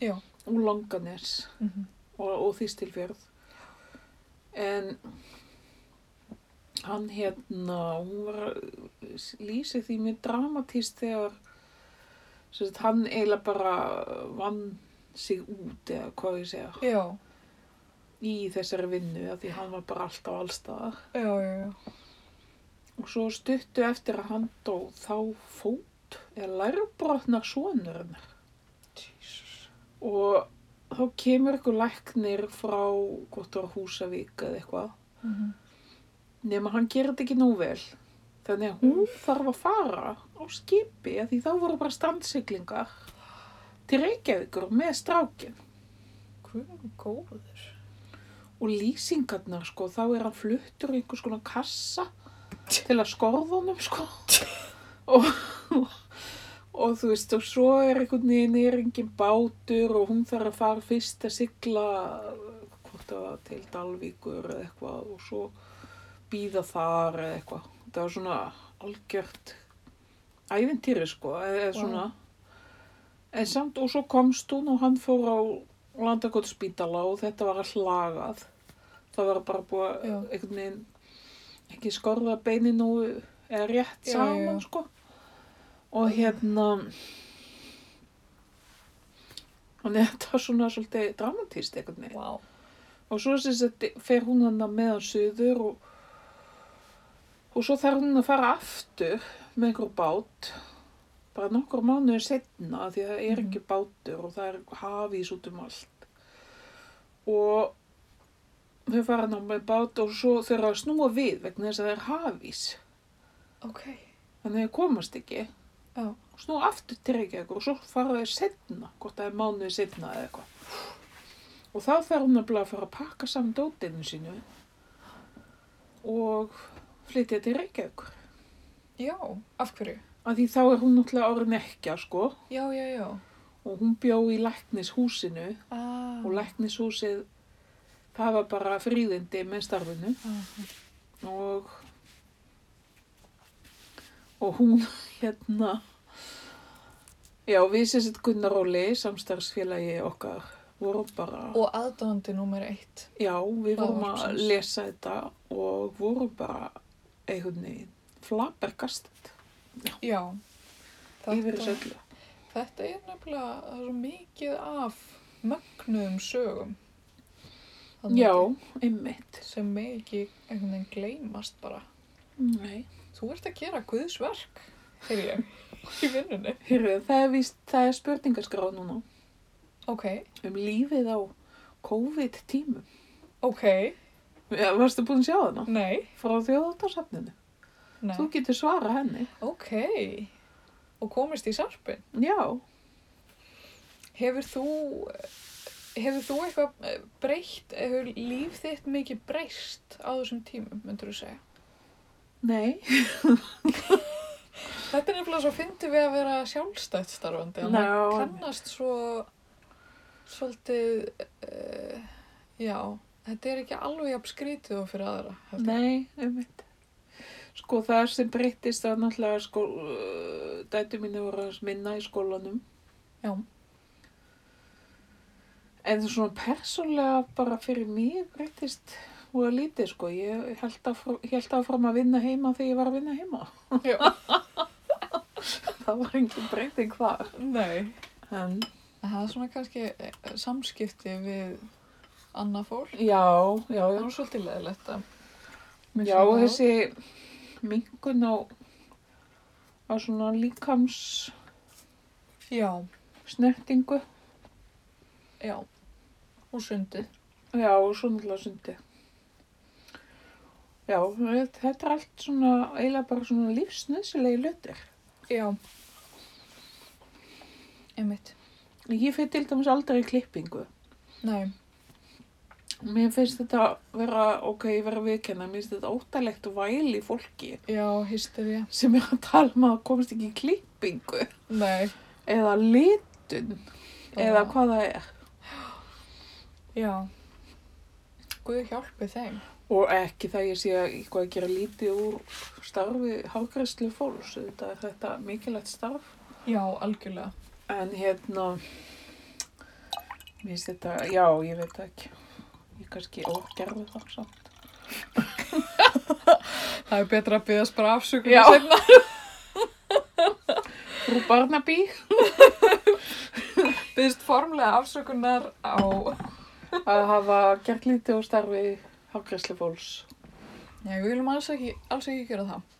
[SPEAKER 1] Já.
[SPEAKER 2] og langanes
[SPEAKER 1] Mm
[SPEAKER 2] og, og þýstilfjörð. En hann hérna, hún var að lýsa því mjög dramatíst þegar sem sagt, hann eiginlega bara vann sig út eða hvað ég segja
[SPEAKER 1] Já,
[SPEAKER 2] í þessari vinnu af því hann var bara alltaf allstaðar
[SPEAKER 1] já, já, já.
[SPEAKER 2] Og svo stuttu eftir að hann dó þá fót eða lærbrotnar sonurinn.
[SPEAKER 1] Jesus.
[SPEAKER 2] Og þá kemur ykkur læknir frá hvort það var Húsavík eða eitthvað.
[SPEAKER 1] Mhm.
[SPEAKER 2] Nefn hann gerir þetta ekki nú vel. Þannig að hún þarf að fara á skipi af því þá voru bara strandsiglingar til Reykjavíkur með strákin.
[SPEAKER 1] Guðum góður.
[SPEAKER 2] Og lýsingarnar sko, þá er hann fluttur í einhvers konar kassa til að skorða honum sko. og, og þú veist, og svo er einhvern veginn er engin bátur og hún þarf að fara fyrst að sigla hvort það var til Dalvíkur eða eitthvað og svo býða þar eða eitthvað. Það var svona algjört ævintýri sko, eða
[SPEAKER 1] Vá.
[SPEAKER 2] svona. En samt, og svo komst hún og hann fór á landakottspítala og þetta var allt lagað. Það var bara búið að
[SPEAKER 1] Já.
[SPEAKER 2] einhvern veginn ekki skorða beini nú eða rétt
[SPEAKER 1] Já,
[SPEAKER 2] saman
[SPEAKER 1] já.
[SPEAKER 2] sko. Og hérna, þannig að þetta var svona svolítið dramatíst einhvern veginn.
[SPEAKER 1] Vá.
[SPEAKER 2] Og svo sem þetta fer hún hann með hann suður og, og svo þarf hún að fara aftur með einhver bát bara nokkur mánuðir setna því að það er
[SPEAKER 1] Mhm.
[SPEAKER 2] ekki bátur og það er hafís út um allt. Og þau fara hann með bát og svo þau eru að snúa við vegna þess að það er hafís.
[SPEAKER 1] Ok.
[SPEAKER 2] Þannig að þau komast ekki
[SPEAKER 1] Já.
[SPEAKER 2] og snúa aftur til Reykjavík og svo fara þau setna, hvort það er mánuði setna eða eitthvað. Og þá fer hún nefnilega að fara að pakka saman dótinu sínu og flytja til Reykjavíkur.
[SPEAKER 1] Já, af hverju?
[SPEAKER 2] Af því þá er hún náttúrulega orðin ekki, sko,
[SPEAKER 1] Já, já, já.
[SPEAKER 2] og hún bjó í læknishúsinu
[SPEAKER 1] Ah.
[SPEAKER 2] og læknishúsið, það var bara fríðindi með starfinu
[SPEAKER 1] Ah.
[SPEAKER 2] og, og hún, hérna, já, við sem sett Gunnar Óli, samstarfsfélagi okkar, vorum bara...
[SPEAKER 1] Og aðdóðandi númer eitt.
[SPEAKER 2] Já, við
[SPEAKER 1] Það
[SPEAKER 2] vorum
[SPEAKER 1] var
[SPEAKER 2] að
[SPEAKER 1] sens.
[SPEAKER 2] lesa þetta og vorum bara einhvern veginn flabbergast
[SPEAKER 1] Já.
[SPEAKER 2] yfir þessu öllu.
[SPEAKER 1] Þetta er nefnilega það er svo mikið af mögnuðum sögum. Þarna
[SPEAKER 2] Já,
[SPEAKER 1] úti
[SPEAKER 2] einmitt.
[SPEAKER 1] Sem með ekki einhvern veginn gleymast bara.
[SPEAKER 2] Nei.
[SPEAKER 1] Þú ert að gera guðsverk, heyr ég, í vinnunni.
[SPEAKER 2] Hyrðu, það er, víst, það er spurningaskrá núna
[SPEAKER 1] Ok,
[SPEAKER 2] um lífið á COVID-tímum.
[SPEAKER 1] ok,
[SPEAKER 2] Já, varstu búin að sjá þarna?
[SPEAKER 1] nei,
[SPEAKER 2] Frá þjóðáttarsafninu.
[SPEAKER 1] nei,
[SPEAKER 2] Þú getur svarað henni.
[SPEAKER 1] ok. Og komist í sarpin.
[SPEAKER 2] Já.
[SPEAKER 1] Hefur þú, hefur þú eitthvað eh, breytt, hefur líf þitt mikið breyst á þessum tímum, myndur þú segja?
[SPEAKER 2] Nei.
[SPEAKER 1] Þetta er nefnilega svo fyndið við að vera sjálfstætt starfandi. að
[SPEAKER 2] Já.
[SPEAKER 1] maður kannast svo svolítið, uh, já, þetta er ekki alveg jafn skrítið og fyrir aðra. held ég.
[SPEAKER 2] Nei, einmitt. Sko, það sem breyttist það náttúrulega sko, uh, dætu mínu voru aðeins minna í skólanum.
[SPEAKER 1] Já.
[SPEAKER 2] En svona persónlega bara fyrir mig breyttist og að lítið sko. Ég held áfram, held áfram að vinna heima þegar ég var að vinna heima.
[SPEAKER 1] Já.
[SPEAKER 2] það var engin breyting þar.
[SPEAKER 1] Nei.
[SPEAKER 2] En,
[SPEAKER 1] En Það er svona kannski eh, samskipti við annað fólk.
[SPEAKER 2] já, já,
[SPEAKER 1] Það
[SPEAKER 2] já.
[SPEAKER 1] er svolítið leðilegt að
[SPEAKER 2] Já, og þessi minkun á, á svona líkams
[SPEAKER 1] Já,
[SPEAKER 2] snertingu.
[SPEAKER 1] já. Og sundið.
[SPEAKER 2] Já, og svo náttúrulega sundi. Já, þetta er allt svona, eiginlega bara svona lífsnöðsilegi lötir.
[SPEAKER 1] Já. Einmitt.
[SPEAKER 2] Ég fyrir til dæmis aldrei í klippingu.
[SPEAKER 1] Nei.
[SPEAKER 2] Mér finnst þetta vera, ok, ég vera viðkenna, mér finnst þetta óttalegt væl í fólki
[SPEAKER 1] Já, hystería.
[SPEAKER 2] sem er að tala um að komast ekki í klippingu
[SPEAKER 1] Nei.
[SPEAKER 2] eða litun eða
[SPEAKER 1] Já.
[SPEAKER 2] hvað það er.
[SPEAKER 1] Já. Guð hjálpi þeim.
[SPEAKER 2] Og ekki það ég sé að eitthvað að gera lítið úr starfi hágræslu fólks, þetta er þetta mikilvægt starf.
[SPEAKER 1] Já, algjörlega.
[SPEAKER 2] En hérna, mér finnst þetta, já, ég veit það ekki. Ég kannski ógerði það samt.
[SPEAKER 1] Það er betra að byggðast bara afsökun
[SPEAKER 2] Já.
[SPEAKER 1] seinna.
[SPEAKER 2] Frú Barnaby?
[SPEAKER 1] Byggðast formlega afsökunar á...
[SPEAKER 2] Að hafa gert lítið úr starfi hágræslu fólks.
[SPEAKER 1] Já, við viljum alls ekki, alls ekki gera það.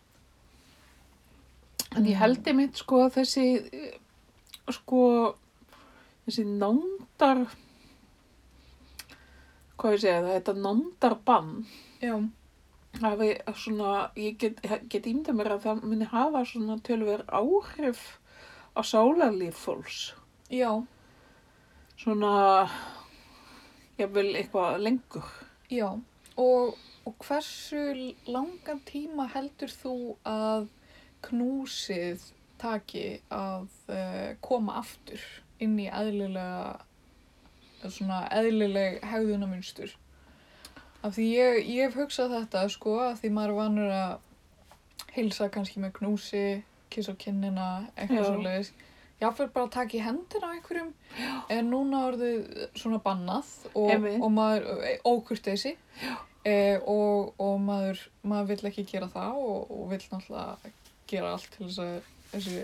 [SPEAKER 2] En ég held einmitt sko að þessi eh, sko þessi nándar hvað ég segja það, þetta nándarbann
[SPEAKER 1] Já.
[SPEAKER 2] hafi svona, ég get, get ímda mér að það muni hafa svona tölver áhrif á sálarlíf fólks
[SPEAKER 1] Já.
[SPEAKER 2] svona jafnvel eitthvað lengur
[SPEAKER 1] Já, og, og hversu langan tíma heldur þú að knúsið taki að uh, koma aftur inn í eðlilega, eða svona eðlileg hegðunamunstur? Af því ég, ég hef hugsað þetta, sko, af því maður er vanur að hilsa kannski með knúsi, kissa á kinnina,
[SPEAKER 2] Já.
[SPEAKER 1] eitthvað svoleiðis. Jáfnveg bara að taka í hendina á einhverjum er núna orðið svona bannað og,
[SPEAKER 2] Einmitt.
[SPEAKER 1] og maður ókurteisi e, og, og maður, maður vill ekki gera það og, og vill náttúrulega gera allt til þess að þessi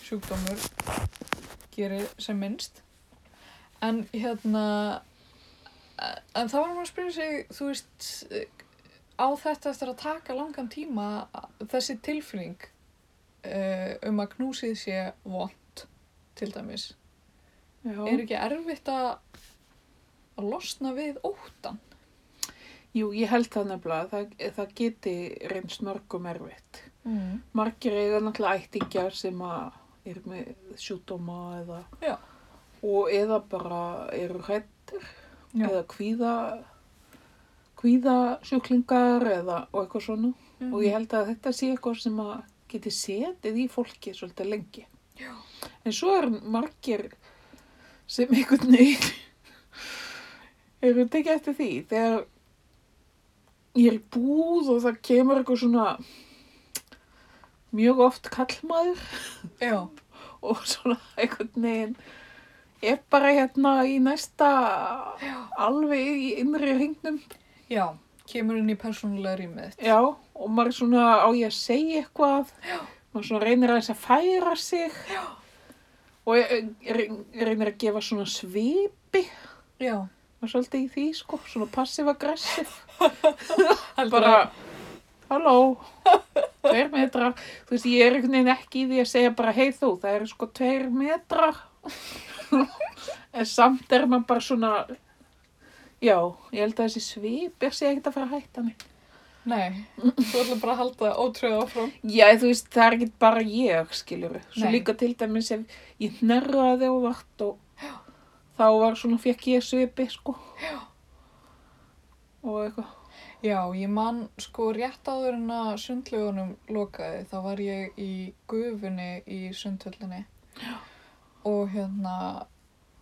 [SPEAKER 1] sjúkdómur gerir sem minnst en hérna e, en þá var maður að spyrja sig þú veist eh, á þetta eftir að taka langan tíma þessi tilfinning uh, um að knúsið sé vond til dæmis
[SPEAKER 2] Já.
[SPEAKER 1] er ekki erfitt að að losna við óttan
[SPEAKER 2] Jú, ég held það nefnilega að það, það geti reynst mörgum erfitt.
[SPEAKER 1] mm.
[SPEAKER 2] Margir eiga náttúrulega ættingjar sem að eru með sjúdóma eða
[SPEAKER 1] Já.
[SPEAKER 2] og eða bara eru hrættir
[SPEAKER 1] Já.
[SPEAKER 2] eða kvíða kvíða sjúklingar eða og eitthvað svona og ég held að þetta sé eitthvað sem að geti setið í fólki svolítið lengi. Já. En svo er margir sem einhvern veginn eru tekið eftir því þegar ég er í búð og það kemur eitthvað svona mjög oft kallmaður
[SPEAKER 1] já,
[SPEAKER 2] og svona einhvern veginn er bara hérna í næsta alveg í innri hringnum
[SPEAKER 1] já, kemur inn í persónulega rýmið
[SPEAKER 2] Já, og maður svona á ég að segja eitthvað, Já. maður svona reynir aðeins að færa sig Já. og eh, reyn- reynir að gefa svona svipi,
[SPEAKER 1] já,
[SPEAKER 2] maður er svolítið í því sko, svona passiv-aggressiv,
[SPEAKER 1] heldur
[SPEAKER 2] bara halló, tveir metrar, þú veist ég er einhvern veginn ekki í því að segja bara hei þú, það eru sko tveir metrar, en samt er maður bara svona, Já, ég held að þessi svip er sér ekkert að fara að hætta mig.
[SPEAKER 1] að nei, þú ætla bara að halda ótröð áfram
[SPEAKER 2] Já, þú veist, það er ekki bara ég, skilur við. Svo
[SPEAKER 1] Nei.
[SPEAKER 2] líka til dæmis ef ég nærraði og vart og þá var svona, fekk ég svipi, sko. Já. Og eitthvað.
[SPEAKER 1] já, ég man sko rétt áður en að sundlögunum lokaði þá var ég í gufunni í sundhöllinni og hérna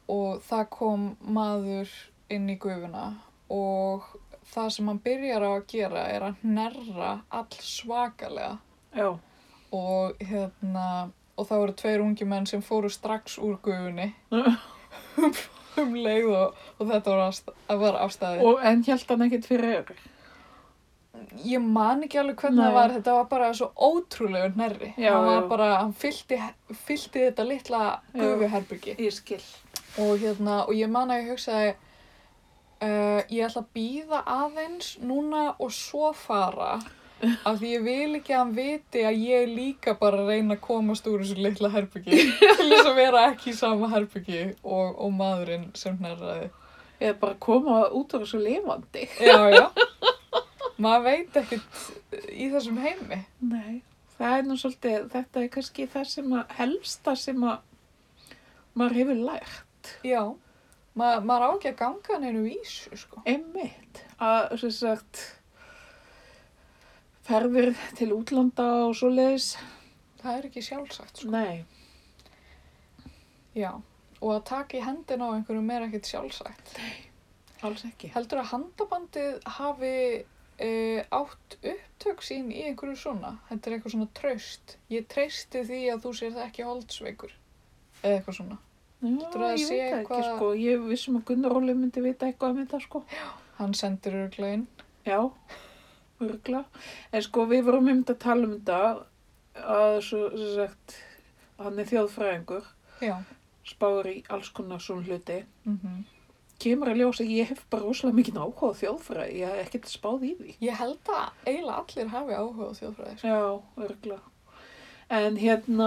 [SPEAKER 1] og það kom maður inn í gufuna og það sem hann byrjar á að gera er að hnerra all svakalega
[SPEAKER 2] Já.
[SPEAKER 1] og hérna og það voru tveir ungi menn sem fóru strax úr gufunni um leið og, og þetta var, afst, var afstæði
[SPEAKER 2] og en held hann ekkit fyrir öru.
[SPEAKER 1] ég man ekki alveg hvernig
[SPEAKER 2] Nei.
[SPEAKER 1] það var þetta var bara svo ótrúlegu nærri
[SPEAKER 2] Já,
[SPEAKER 1] hann var
[SPEAKER 2] já.
[SPEAKER 1] bara, hann fyllti, fyllti þetta litla
[SPEAKER 2] Já.
[SPEAKER 1] gufuherbyggi
[SPEAKER 2] Ég skil.
[SPEAKER 1] og hérna, og ég man að ég hugsaði uh, ég ætla að býða aðeins núna og svo fara af því ég vil ekki að hann viti að ég er líka bara að reyna að komast úr þessu litla herbyggi til þess að vera ekki í sama herbyggi og, og maðurinn sem hnerraði
[SPEAKER 2] Eða bara koma út úr þessu lifandi.
[SPEAKER 1] já, já maður veit ekkert í þessum heimi
[SPEAKER 2] Nei. Það er nú svolítið, þetta er kannski það sem að helsta sem að maður hefur lært.
[SPEAKER 1] já, Ma, maður á ekki að ganga neinu vísu, sko
[SPEAKER 2] Einmitt. Að, sem sagt, ferðir til útlanda og svoleiðis.
[SPEAKER 1] það er ekki sjálfsagt, sko
[SPEAKER 2] Nei.
[SPEAKER 1] já, og að taka í hendina á einhverjum er ekkert sjálfsagt
[SPEAKER 2] Alls ekki.
[SPEAKER 1] Heldur að handabandið hafi uh, átt upptök sín í einhverju svona? Þetta er eitthvað svona tröst. Ég treysti því að þú sér það ekki holdsveikur. Eða eitthvað svona.
[SPEAKER 2] Já,
[SPEAKER 1] Heldurðu að
[SPEAKER 2] ég
[SPEAKER 1] sé
[SPEAKER 2] veit það ekki
[SPEAKER 1] eitthvað-
[SPEAKER 2] sko. Ég vissum að Gunnar Óli myndi vita eitthvað um þetta sko.
[SPEAKER 1] Hann sendir örgla inn.
[SPEAKER 2] Já, örgla. En sko við vorum um þetta að tala um þetta að svo sem sagt hann er þjóðfræðingur,
[SPEAKER 1] Já.
[SPEAKER 2] spáður í alls konar svona hluti.
[SPEAKER 1] Mm
[SPEAKER 2] Kemur að ljósa, ég hef bara rosalega mikið áhuga á þjóðfræði, ég hef ekkert spáð í því.
[SPEAKER 1] Ég held að eiginlega allir hafi áhuga á þjóðfræði. sko.
[SPEAKER 2] Já, örgla. en hérna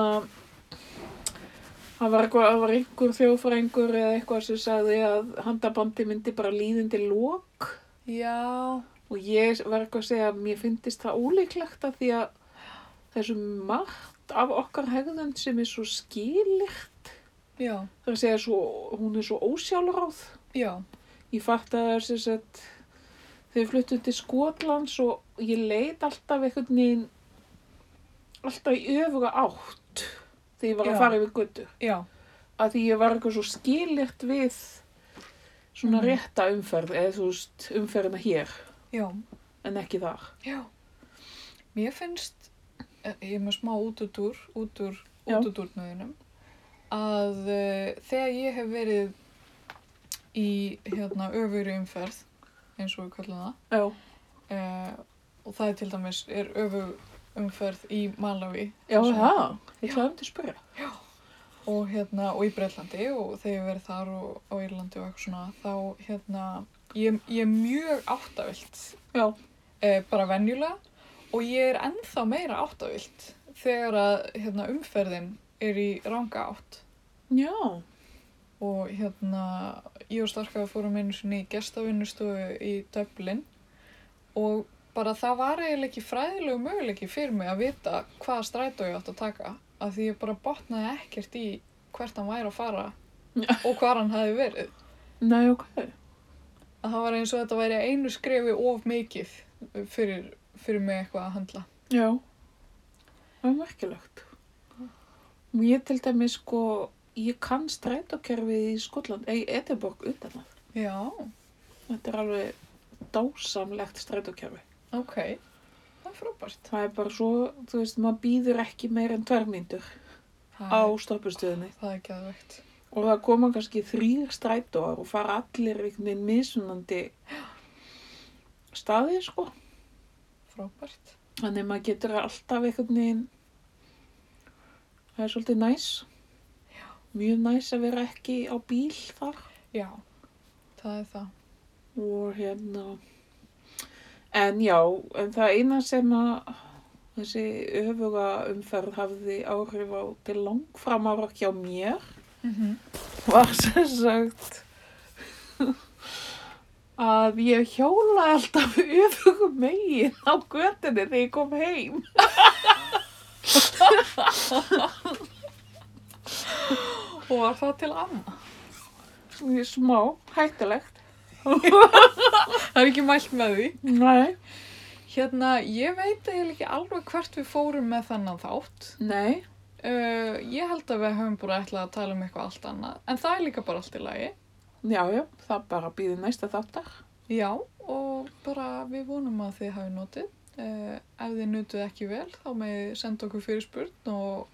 [SPEAKER 2] hann var, eitthvað, hann var einhver þjófrængur eða eitthvað sem sagði að handabandi myndi bara líðindi lók
[SPEAKER 1] Já.
[SPEAKER 2] og ég var eitthvað að segja að mér finnist það ólíklegt að því að þessu margt af okkar hegðund sem er svo skilikt
[SPEAKER 1] Já.
[SPEAKER 2] það er að segja svo, hún er svo ósjálfráð
[SPEAKER 1] Já.
[SPEAKER 2] ég fatt að þess að þegar ég fluttu til Skotlands og ég leit alltaf einhvern veginn alltaf í öfuga átt þegar ég var
[SPEAKER 1] Já.
[SPEAKER 2] að fara yfir götu
[SPEAKER 1] Já.
[SPEAKER 2] að því ég var eitthvað svo skilirt við svona
[SPEAKER 1] Mhm.
[SPEAKER 2] rétta umferð eða þú veist umferðina hér
[SPEAKER 1] Já.
[SPEAKER 2] en ekki þar
[SPEAKER 1] Já. Mér finnst, eh, ég er með smá útudúr, útur,
[SPEAKER 2] Já.
[SPEAKER 1] útudúrnöðunum, að uh, þegar ég hef verið í hérna öfugri umferð, eins og við kallum það,
[SPEAKER 2] já,
[SPEAKER 1] uh, og það er til dæmis, er öfug umferð í Malawi
[SPEAKER 2] já
[SPEAKER 1] Svo-
[SPEAKER 2] það, ég hlæðum til að spyrja
[SPEAKER 1] og hérna, og í Breitlandi og þegar ég hef verið þar og á Írlandi og eitthvað svona, þá hérna, ég, ég er mjög áttavilt
[SPEAKER 2] já,
[SPEAKER 1] eh, bara venjulega og ég er ennþá meira áttavilt þegar að hérna, umferðin er í ranga átt
[SPEAKER 2] já,
[SPEAKER 1] og hérna ég og Starka fórum einu sinni í gestavinnustofu í Dublin og bara það var eiginlega ekki fræðilegu möguleiki fyrir mig að vita hvaða strætó ég átt að taka af því ég bara botnaði ekkert í hvert hann væri að fara
[SPEAKER 2] Já.
[SPEAKER 1] og hvar hann hafi verið
[SPEAKER 2] nei ok
[SPEAKER 1] að það var eins og þetta væri einu skrefi of mikið fyrir, fyrir mig eitthvað að handla
[SPEAKER 2] já, það er merkilegt ég til dæmi sko ég kann strætókerfið í Skotland eða í Edinborg utan að
[SPEAKER 1] Já,
[SPEAKER 2] þetta er alveg dásamlegt strætókerfi
[SPEAKER 1] ok það er frábært
[SPEAKER 2] það er bara svo, þú veist, maður býður ekki meir en tvær mínútur
[SPEAKER 1] það
[SPEAKER 2] á
[SPEAKER 1] er,
[SPEAKER 2] stoppustöðinni
[SPEAKER 1] það er geðvegt
[SPEAKER 2] og það koma kannski þrýr strætóar og fara allir einhvern veginn misunandi staði sko
[SPEAKER 1] frábært
[SPEAKER 2] þannig maður getur alltaf einhvern veginn það er svolítið næs mjög næs að vera ekki á bíl þar
[SPEAKER 1] Já, það er það
[SPEAKER 2] og hérna en já, en það eina sem að þessi öfuga umferð hafði áhrif á til langframar hjá mér
[SPEAKER 1] mm
[SPEAKER 2] Mhm.
[SPEAKER 1] -hmm.
[SPEAKER 2] var sem sagt að ég hjólaði alltaf öfugum megin á götunni þegar ég kom heim
[SPEAKER 1] Og var það til amma?
[SPEAKER 2] Mjög smá, hættulegt
[SPEAKER 1] Það er ekki mælt með því.
[SPEAKER 2] nei,
[SPEAKER 1] Hérna, ég veit eiginlega ekki alveg hvert við fórum með þennan þátt.
[SPEAKER 2] nei,
[SPEAKER 1] Uh, ég held að við höfum bara ætlað að tala um eitthvað allt annað. En það er líka bara allt í lagi.
[SPEAKER 2] já, já það bara býði næsta þáttar
[SPEAKER 1] Já, og bara við vonum að þið hafi notið. Uh, ef þið nutuð ekki vel, þá meði senda okkur fyrirspurn og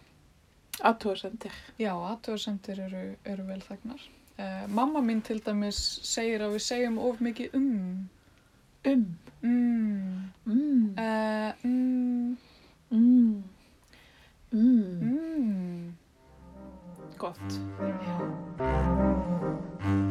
[SPEAKER 2] aðtúrsendir
[SPEAKER 1] Já, aðtöðarsendir eru, eru vel þegnar. Uh, mamma mín til dæmis segir að við segjum of mikið um.
[SPEAKER 2] um,
[SPEAKER 1] Mm.
[SPEAKER 2] mm,
[SPEAKER 1] Uh, mm.
[SPEAKER 2] mm, mm
[SPEAKER 1] Mm.
[SPEAKER 2] gott
[SPEAKER 1] Já.